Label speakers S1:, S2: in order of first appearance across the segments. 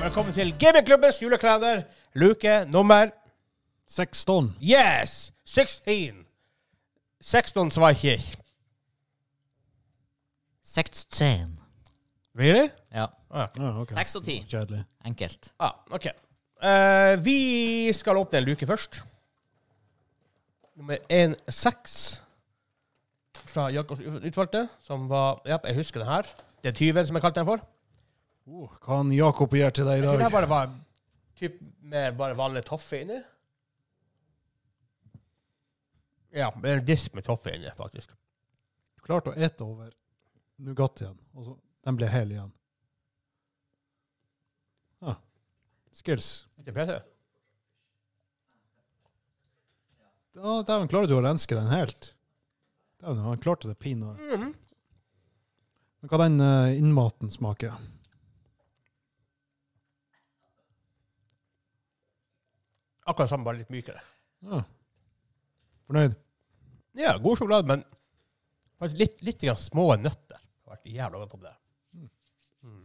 S1: velkommen til Gamingklubbens julekalender, luke nummer
S2: 16.
S1: Yes! 16. 16 svarkirk.
S3: 16.
S1: Really?
S3: Ja.
S1: Ah, ok.
S2: Ja, ok.
S3: 6 og 10.
S2: Kjedelig.
S3: Enkelt.
S1: Ah, ok. Eh, vi skal åpne en luke først. Nummer 1-6 fra Jakobs utvalgte, som var Ja, jeg husker den her. Det er tyven som jeg kalte den for.
S2: Oh, hva han Jakob gjør til deg i
S1: Jeg tror den her bare
S2: dag?
S1: var typ med bare vanlig toffe inni. Ja, det er en disk med toffe inni, faktisk.
S2: Du klarte å ete over Nougat igjen, og så den ble hel igjen. Ah. Skills.
S1: Ikke PC.
S2: Ja, Dæven, klarer du å renske den helt? Dæven, han klarte det pinadø.
S1: Mhm.
S2: Men hva den eh, innmaten smaker?
S1: Akkurat samme, bare litt mykere.
S2: Ja. Ah. Fornøyd?
S1: Ja, god sjokolade, men faktisk litt, litt grann små nøtter. Det har vært jævla godt om det. Mm.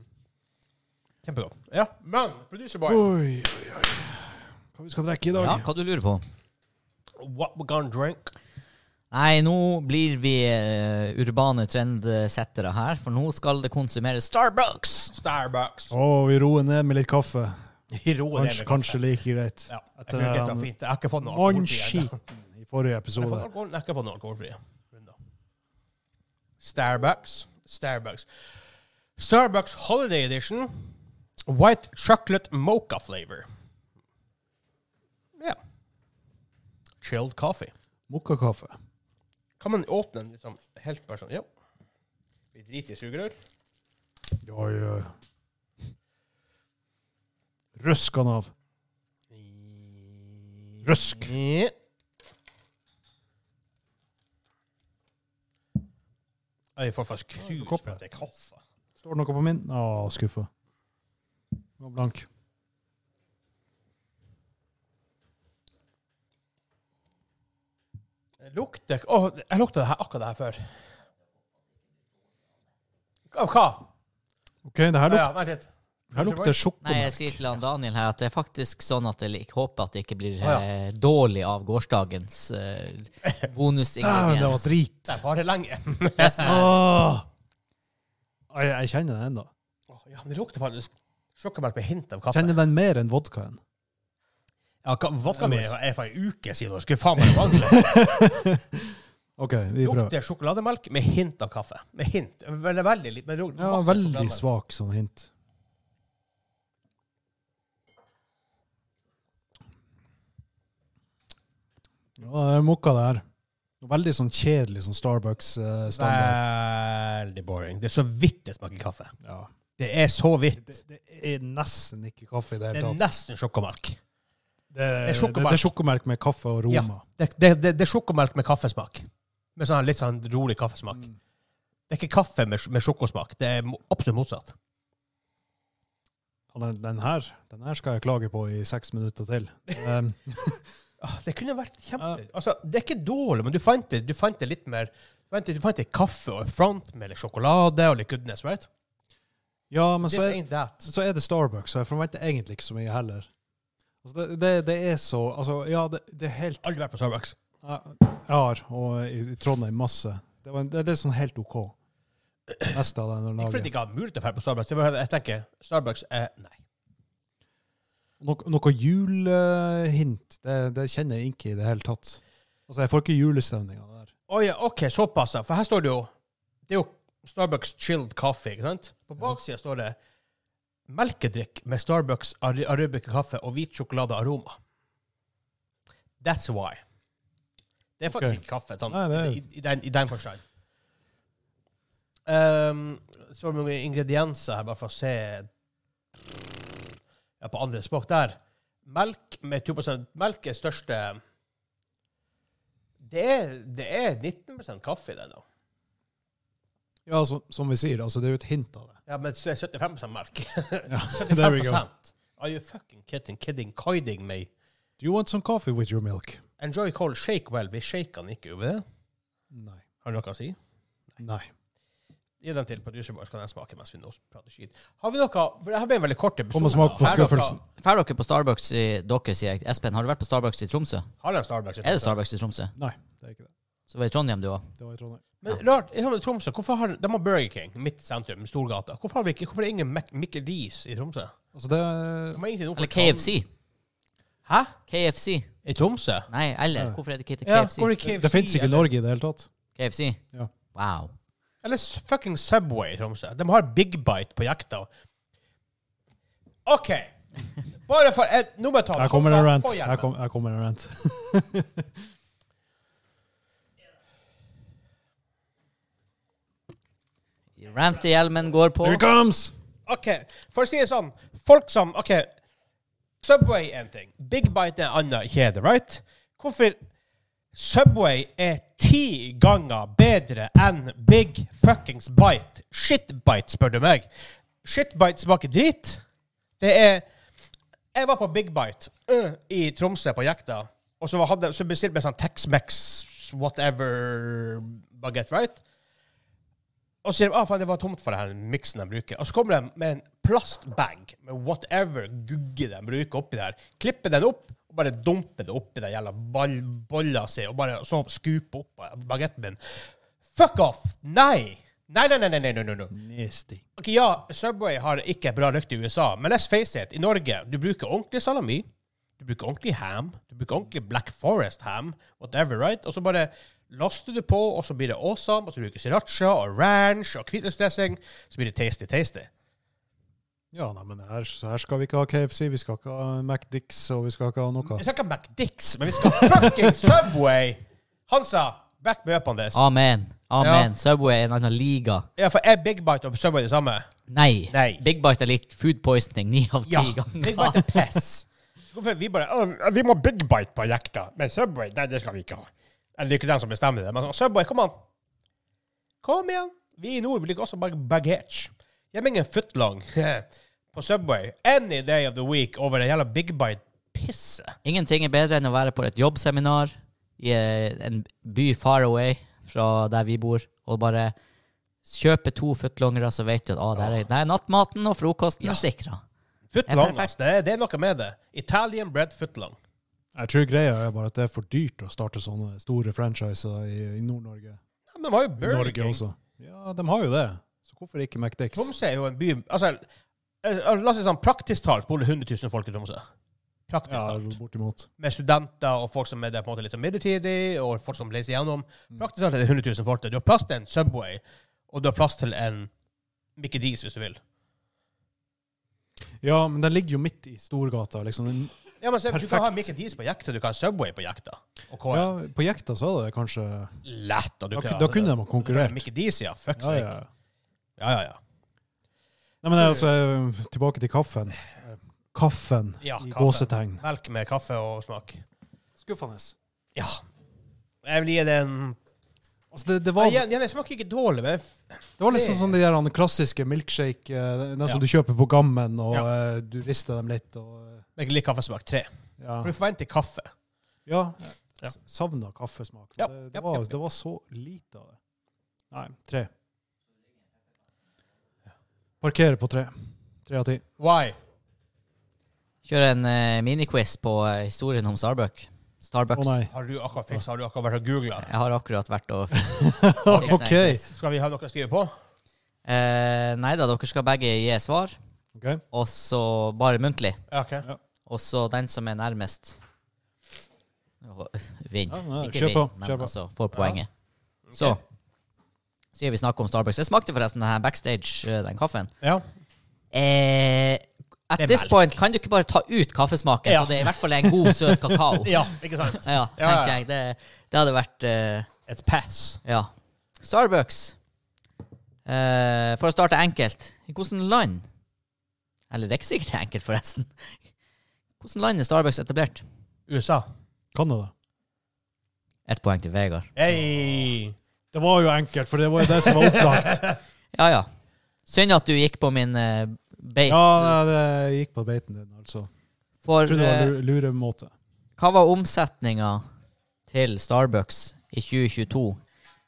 S1: Kjempegodt. Ja, men producer boy,
S2: Oi, oi, oi. Hva vi skal drikke i dag?
S3: Ja, hva du lurer på?
S1: what we gonna drink?
S3: Nei, nå blir vi eh, urbane trendsettere her, for nå skal det konsumeres Starbucks!
S1: Starbucks.
S2: Å, vi roer ned med litt kaffe.
S1: Roer ned
S2: Kanskje,
S1: med
S2: kanskje like greit.
S1: Ja, jeg
S2: Etter
S1: tror det
S2: den
S1: er fint. Jeg har ikke fått noe alkoholfri ennå.
S2: Mannskiten i forrige
S1: Jeg har
S2: episode.
S1: fått alkohol- jeg har ikke fått noe alkoholfri. runder. Starbucks. Starbucks. Starbucks Holiday Edition. White chocolate mocha flavor. Ja. Chilled coffee.
S2: Mokkakaffe.
S1: Kan man åpne den liksom helt bare sånn? Ja. Vi driter i sugerør.
S2: Oi, oi. Røsk han av. Røsk.
S1: Ja. Jeg får faktisk
S2: Ja,
S1: krus
S2: kopp,
S1: for
S2: ja.
S1: at det er kaffe.
S2: Står det noe på min? Å, skuffa. Var blank.
S1: Det lukter Åh, jeg lukta det her, akkurat det her før. Av hva?
S2: OK, det
S1: Ah,
S2: her,
S1: ja,
S2: luk
S1: vent litt.
S2: her lukter
S3: Nei, jeg
S2: sjokomelk.
S3: sier til han Daniel her at det er faktisk sånn at jeg lik- håper at det ikke blir
S1: Å, ja.
S3: eh, dårlig av gårsdagens eh,
S2: Dæven, det var
S3: bonusingrediens.
S2: drit.
S1: Det varer lenge.
S3: Resten her.
S2: Åh. Ai, Jeg kjenner den ennå.
S1: Åh, ja, men det lukter faktisk sjokomelk med hint av kaffe.
S2: Kjenner den mer enn vodkaen.
S1: Ja, ka- Vodka mi er fra en uke siden. og Skulle faen meg vanlig.
S2: OK, vi prøver.
S1: Lukter sjokolademelk med hint av kaffe. Med hint. Veldig, veldig litt. men det lukter
S2: Ja,
S1: masse
S2: veldig
S1: sjokolademelk.
S2: svak sånn hint. Ja, det er mokka det her. Veldig sånn kjedelig sånn Starbucks-standard.
S1: Veldig boring. Det er så vidt det smaker kaffe.
S2: ja.
S1: Det er så vidt.
S2: det, det er nesten ikke kaffe i det
S1: Det er
S2: hele tatt.
S1: nesten sjokomelk.
S2: Det er,
S1: det er sjokomelk.
S2: det, det er sjokomelk med kaffe og
S1: Ja.
S2: roma.
S1: Det, det, det, det er sjokomelk med kaffesmak. Med sånn litt sånn rolig kaffesmak.
S2: Mm.
S1: Det er ikke kaffe med, med sjokosmak. Det er mo- absolutt motsatt.
S2: Og den, den, her, den her skal jeg klage på i seks minutter til. Um,
S1: Ah, Det kunne vært kjempe... Altså, det er ikke dårlig, men du fant det, du fant det litt mer du fant, det- du fant det kaffe og front med litt sjokolade og litt goodness, right?
S2: ja, men
S1: This
S2: så er,
S1: ain't that.
S2: så er det Starbucks, så jeg forventer egentlig ikke så mye heller. Altså, det, det, det er så Altså, ja, det, det er helt
S1: Aldri vært på Starbucks.
S2: Jeg har, og i, i Trondheim masse. Det, var, det, det er sånn helt OK. Meste av den
S1: Ikke fordi jeg
S2: laget.
S1: ikke har mulighet til å dra på Starbucks. Det er bare- Jeg tenker, Starbucks er Nei.
S2: Noe, noe julehint, det, det kjenner jeg ikke i det hele tatt. Altså, jeg får ikke julestemninga der.
S1: Å ja, OK, såpass. ja. For her står det jo Det er jo Starbucks chilled coffee, ikke sant? På baksida står det melkedrikk med Starbucks ar arabica kaffe og hvit sjokoladearoma. That's why. Det er faktisk
S2: Ok.
S1: ikke kaffe sånn,
S2: Nei, det er-
S1: i, i den, i den forstand. Um, så er det noen ingredienser her, bare for å se ja, På andre språk der. Melk med 2 Melk er største Det er, det er 19 kaffe i det, da.
S2: Ja, så, som vi sier, altså, det er jo et hint av det.
S1: Ja, men så er 75 melk.
S2: Ja, there we go.
S1: 75 Are you fucking kidding, kidding, kidding me?
S2: Do you want some coffee with your milk?
S1: Enjoy cold shake well. Vi shaker den ikke, gjør vi det?
S2: Nei.
S1: Har du noe å si?
S2: Nei.
S1: Gi den til producer Bård, så kan jeg smake mens vi nå prater skit. Har vi noe For det her blir en veldig kort episode.
S2: Kom og smak på
S1: Er dere-
S2: skuffelsen.
S3: Drar dere på Starbucks i Dere sier jeg. Espen, har du vært på Starbucks i Tromsø?
S1: Har jeg en Starbucks? i
S3: Er det
S1: Tromsø?
S3: Starbucks i Tromsø?
S2: Nei, det er ikke det.
S3: Så var det i Trondheim du var.
S2: Det var i Trondheim.
S1: Men rart, i samme Tromsø, hvorfor har de har Burger King, midt sentrum, Storgata? Hvorfor, har vi ikke, hvorfor er det ingen Mac Mickey D's i Tromsø?
S2: Altså, det
S1: De har ingenting
S3: Eller KFC.
S1: Hæ?
S3: KFC.
S1: I Tromsø?
S3: Nei, eller
S2: Ja.
S3: hvorfor er det ikke
S1: Ja,
S3: KFC?
S1: hvor er KFC?
S2: Det fins ikke i
S1: eller-
S2: Norge i det hele tatt.
S3: KFC?
S2: Ja.
S3: Wow.
S1: Eller s- fucking Subway i Tromsø. De har Big Bite på jakta. OK. Bare for eh, Nå må jeg ta
S2: Her kommer en
S1: Få-
S2: rant.
S1: få hjelp.
S2: Her, kom, her kommer en rant.
S3: Rantehjelmen går på.
S2: Here it comes!
S1: OK, for å si det sånn. Folk som OK, Subway er en ting. Big Bite er en annen kjede, right? Hvorfor Subway er ti ganger bedre enn Big fuckings Bite? Shitbite, spør du meg. Shitbite smaker drit. Det er Jeg var på Big Bite øh, i Tromsø på jekta, og så, hadde, så bestilte jeg sånn Tex-Mex whatever baguette, right? Og så sier de ah, faen, det var tomt for den miksen de bruker. Og så kommer de med en plastbag med whatever gugge de bruker oppi der. Klipper den opp og bare dumper det oppi den jævla ball, bolla si, og bare så skuper opp bagetten min. Fuck off! Nei! Nei, nei, nei, nei, nei, nei, nei, nei.
S2: Nasty.
S1: Ok, ja, Subway har ikke bra rykte i USA, men let's face it, i Norge, du bruker ordentlig salami, du bruker ordentlig ham, du bruker ordentlig Black Forest ham, whatever, right? Og så bare laster du på, og så blir det awesome, og så bruker du sriracha og ranch og hvitløksdressing, så blir det tasty, tasty.
S2: Ja, nei, men her, her skal vi ikke ha KFC, vi skal ikke ha MacDix, og vi skal ikke ha noe.
S1: Vi skal ikke ha McDicks, men vi skal ha fucking Subway! Hansa, back me up on this.
S3: Amen. Amen.
S1: Ja.
S3: Subway er en annen liga.
S1: Ja, for er Big Bite og Subway det samme?
S3: Nei.
S1: Nei.
S3: Big Bite er lik food poisoning ni av ti
S1: Ja,
S3: ganger.
S1: Big Bite er piss. Så Hvorfor vi bare «Å, Vi må Big Bite på jekta, men Subway nei, det skal vi ikke ha. Eller det er ikke den som bestemmer det, men sånn, Subway, kom an. Kom igjen. Vi i nord vi liker også bag baggage. Jeg mener en footlong på Subway any day of the week over det jævla Big Bite-pisset.
S3: Ingenting er bedre enn å være på et jobbseminar i eh, en by far away fra der vi bor, og bare kjøpe to footlongere, så vet du at ah, der er, der er nattmaten og frokosten er sikra. Ja,
S1: Footlong,
S3: perfekt.
S1: ass, det, er- det er noe med det. Italian bread footlong.
S2: Jeg tror greia er bare at det er for dyrt å starte sånne store franchiser i, i Nord-Norge.
S1: Ja, men de har jo
S2: I
S1: Burger
S2: Norge
S1: King.
S2: også. Ja, de har jo det. Så hvorfor ikke MacDix?
S1: Tromsø er jo en by Altså, eh, la oss si sånn praktisk talt bor det 100 000 folk i Tromsø. Praktisk
S2: Ja,
S1: talt.
S2: bortimot.
S1: med studenter og folk som er der på en måte litt sånn midlertidig, og folk som leser gjennom.
S2: Mm.
S1: Praktisk talt er det 100 000 folk der. Du har plass til en Subway, og du har plass til en Mickey D's hvis du vil.
S2: Ja, men den ligger jo midt i Storgata, liksom. Den,
S1: Ja, men se, Du kan
S2: Perfekt.
S1: ha Mickey D's på jekta, du kan ha Subway på jekta. Og KM.
S2: ja, på jekta så er det kanskje Da,
S1: Lett. Og du
S2: ku- da kunne de ha konkurrert.
S1: Mickey D's, ja. Fuck
S2: Ja,
S1: sake.
S2: ja.
S1: Ja, ja, ja.
S2: Nei, men altså, eh, tilbake til kaffen. Eh, Kaffen
S1: Ja,
S2: i
S1: kaffen.
S2: gåsetegn.
S1: Melk med kaffe og smak.
S2: Skuffende.
S1: Ja. Jeg vil gi det en
S2: Altså, det, det,
S1: ja,
S2: var,
S1: igjen, igjen, Det smaker ikke dårlig, men
S2: det var liksom sånn de der han, klassiske milkshake, eh, den den
S1: Ja.
S2: som du kjøper på gammen, og
S1: Ja.
S2: eh, du rister dem litt, og eh,
S1: jeg liker kaffesmak. Tre.
S2: ja.
S1: For du forventer kaffe.
S2: ja.
S1: Ja.
S2: s- Savna kaffesmak.
S1: Ja,
S2: Det,
S1: ja,
S2: det, var,
S1: ja, ja.
S2: det var så lite av det. Nei, tre. Parkere på tre. Tre av ti.
S1: Why?
S3: Kjøre en eh, miniquiz på eh, historien om Starbucks.
S2: Å
S3: Starbucks.
S2: nei.
S1: Har du akkurat fiksa? Har du akkurat vært og googla?
S3: Jeg har akkurat vært og
S2: OK.
S1: Skal vi ha noe å skrive på?
S3: Eh, nei da, dere skal begge gi svar,
S2: Ok.
S3: og så bare muntlig.
S1: Ja, ok.
S3: Og så den som er nærmest Å, Vinn.
S2: Ja, nei,
S3: Ikke
S2: kjør på,
S3: vinn, men
S2: kjør på.
S3: altså får poenget. Så
S1: Ok.
S3: sier vi snakker om Starbucks. Jeg smakte forresten den her backstage, eh, den kaffen.
S1: Ja.
S3: Eh, at
S1: Det er
S3: this
S1: melk.
S3: point kan du ikke bare ta ut kaffesmaken,
S1: Ja.
S3: så det er i hvert fall en god, søt kakao. ja,
S1: ja, ikke sant? Ja,
S3: tenker
S1: ja.
S3: jeg. Det, det hadde vært eh,
S1: Et pass.
S3: Ja. Starbucks. Eh, for å starte enkelt. I hvilket land Eller det er ikke sikkert det er enkelt, forresten. Hvilket land er Starbucks etablert?
S1: USA.
S2: Canada.
S3: Ett poeng til Vegard.
S1: Hei!
S2: Det var jo enkelt, for det var jo det som var opplagt.
S3: Ja, ja. Synd at du gikk på min eh, beit.
S2: Ja, nei, det gikk på beiten din, altså.
S3: for
S2: Jeg trodde det var
S3: eh,
S2: lu- luremåte.
S3: hva var omsetninga til Starbucks i 2022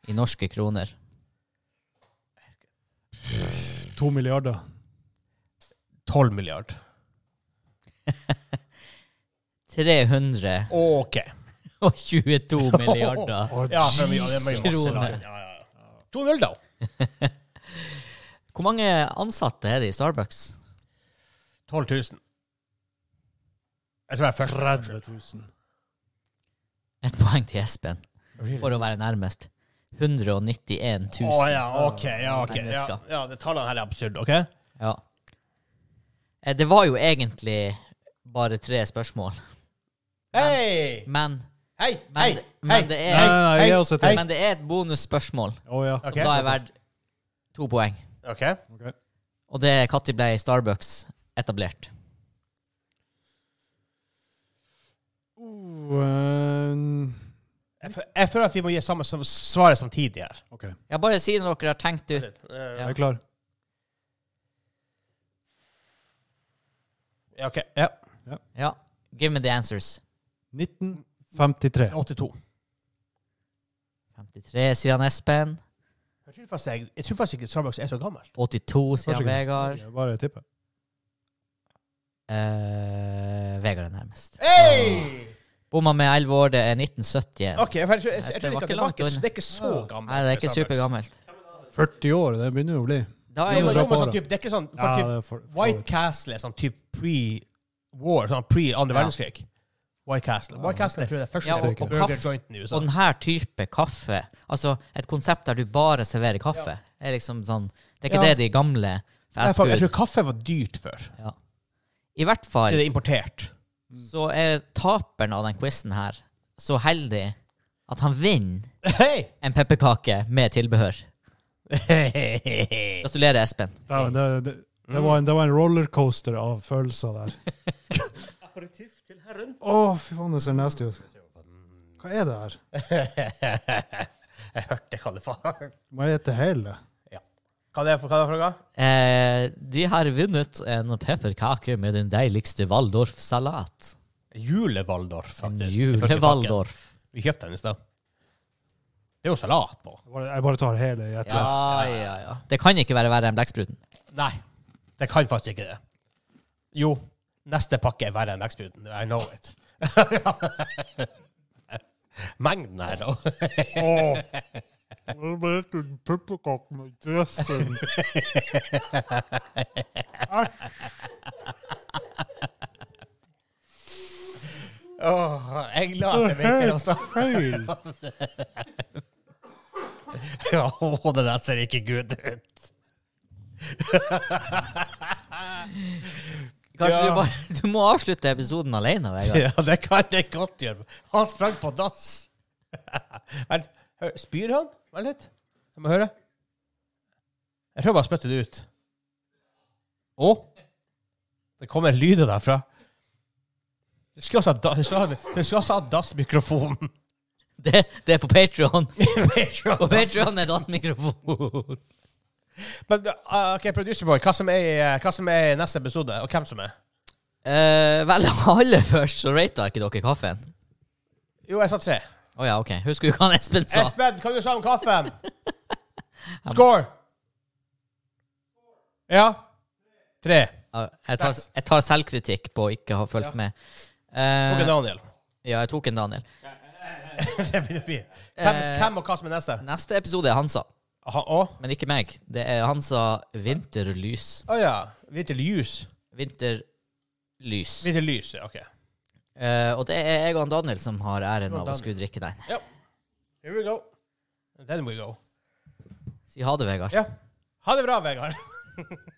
S3: i norske kroner?
S2: To milliarder.
S1: 12 milliard.
S3: 300
S1: OK.
S3: og 22 milliarder.
S1: Ja, men vi- ja, det er mye masse
S3: Kroner.
S1: lag. Ja, ja, ja. 2-0, da.
S3: Hvor mange ansatte er det i Starbucks?
S1: 12 000. Jeg skal være først.
S2: 30 000.
S3: Et poeng til Espen,
S1: Really?
S3: for å være nærmest. 191
S1: Å
S3: 000.
S1: ja, OK. Ja, ok. Ja, ja, det tallene her er absurde, OK?
S3: Ja. Eh, Det var jo egentlig bare tre spørsmål,
S1: Hei!
S3: men
S1: Hei! Hei!
S3: Men-
S1: Hei!
S3: men det er-
S2: Nei, nei, nei, gi oss et
S1: Hei.
S2: til.
S3: Men det er et bonusspørsmål, som
S2: Å ja.
S1: Ok.
S3: da er verdt to poeng.
S1: OK.
S2: Ok.
S3: Og det er når ble Starbucks etablert?
S2: Oh, eh,
S1: Jeg fø- Jeg føler at vi må gi samme s- svaret samtidig her. Eh,
S2: OK, jeg
S3: Ja, bare si når dere har tenkt ut.
S1: Ja,
S2: er klar.
S1: OK. Ja.
S3: Ja, give me the answers.
S2: 1953.
S1: 82.
S3: 53 sier han Espen.
S1: Jeg tror faktisk, jeg, jeg tror faktisk ikke Starbucks er så gammelt.
S3: 82 sier
S2: Kanskje
S3: han
S2: ikke.
S3: Vegard.
S2: Jeg Bare tipper.
S3: Eh, Vegard er nærmest.
S1: Hei!
S3: Bomma med 11 år, det er 1971.
S1: OK, for jeg, tror- jeg,
S3: Nei,
S1: jeg, tror
S3: det var
S1: ikke at
S3: ikke
S1: det, var
S3: langt
S1: ikke,
S3: unna.
S1: det er ikke så gammelt.
S3: Nei, det er ikke
S1: Starbucks.
S3: supergammelt.
S2: 40 år, det begynner jo å bli.
S3: Da
S1: Jo,
S3: er jo
S1: men- jo, men sånn
S2: Ja,
S1: typ, det er ikke sånn for
S2: Ja,
S1: typ,
S2: det er for, for
S1: White Castle er sånn type pre-war, sånn pre-andre
S3: Ja.
S1: verdenskrig. White Castle. White Castle jeg tror jeg er første
S3: Ja, og-
S1: stykke
S3: og
S1: burger
S3: kaffe.
S1: jointen i USA.
S3: Og denne type kaffe, altså et konsept der du bare serverer kaffe, er liksom sånn Det er ikke
S1: Ja.
S3: det de
S1: Jeg,
S3: gamle fast
S1: tror- jeg
S3: food
S1: tror kaffe var dyrt før.
S3: ja. I hvert
S1: Det
S3: fall
S1: er importert.
S3: så er taperen av den quizen her så heldig at han vinner
S1: Hei!
S3: en pepperkake med tilbehør.
S1: Hei!
S3: Gratulerer, Espen.
S2: Det, det, det, det, var en, det var en rollercoaster av følelser der. Å, fy faen, det ser nasty ut. Hva er det her?
S1: Jeg hørte hva det var.
S2: Må jeg ete hele?
S1: Hva er det for hva er det for noe?
S3: Eh, de har vunnet en pepperkake med den deiligste Waldorf-salat.
S1: Julevaldorf,
S3: En
S1: faktisk. Første pakken.
S3: jule-Waldorf.
S1: Vi kjøpte den i stad. Det er jo salat på.
S2: Jeg bare- Jeg bare tar hele i ett løp.
S3: Ja, ja, ja. Det kan ikke være verre enn blekkspruten.
S1: Nei, det kan faktisk ikke det. Jo, neste pakke er verre enn Max-buden. I know it. Mengden her, da.
S2: Åh. Jeg bare etter en pepperkake med dressing.
S1: Åh, jeg er glad at
S2: Det
S1: det
S2: er
S1: virker.
S2: helt
S1: Også.
S2: feil.
S1: Ja, åh, det der ser ikke good ut.
S3: Kanskje
S1: Ja.
S3: du bare Du må avslutte episoden alene, Vegard.
S1: Ja, det kan jeg godt gjøre. Han sprang på dass. Vent, hør, spyr han? Vent litt. Jeg må høre. Jeg tror jeg bare spytter det ut. Å? Det kommer lyder derfra. Du skulle også ha da- du skulle ha- du skulle også ha dassmikrofonen.
S3: Det, det er på Patreon På
S1: Patreon.
S3: Patreon er dassmikrofon.
S1: Men uh, ok, producer boy, hva som, er, hva som er neste episode, og hvem som er?
S3: Eh, vel, aller først så rata ikke dere kaffen.
S1: Jo, jeg sa tre.
S3: Å ja, OK. Husker du hva han Espen sa?
S1: Espen, hva du sa om kaffen? Score! Ja. Tre.
S3: Ja, Jeg tar, jeg tar selvkritikk på å ikke ha fulgt med. Eh,
S1: Og en Daniel.
S3: ja, jeg tok en Daniel.
S1: Det blir- det blir. hvem,
S3: Eh.
S1: hvem og hva som er neste?
S3: Neste episode er Hansa,
S1: Aha, å?
S3: men ikke meg. Det er Hansa Vinterlys.
S1: Å ja. Vinterlys.
S3: Vinterlys.
S1: Vinterlys, ja. OK.
S3: Eh, og det er jeg og han Daniel som har æren av å
S1: Daniel.
S3: skulle drikke den.
S1: Here we go. And then we go.
S3: Si ha det, Vegard.
S1: Ja. Ha det bra, Vegard.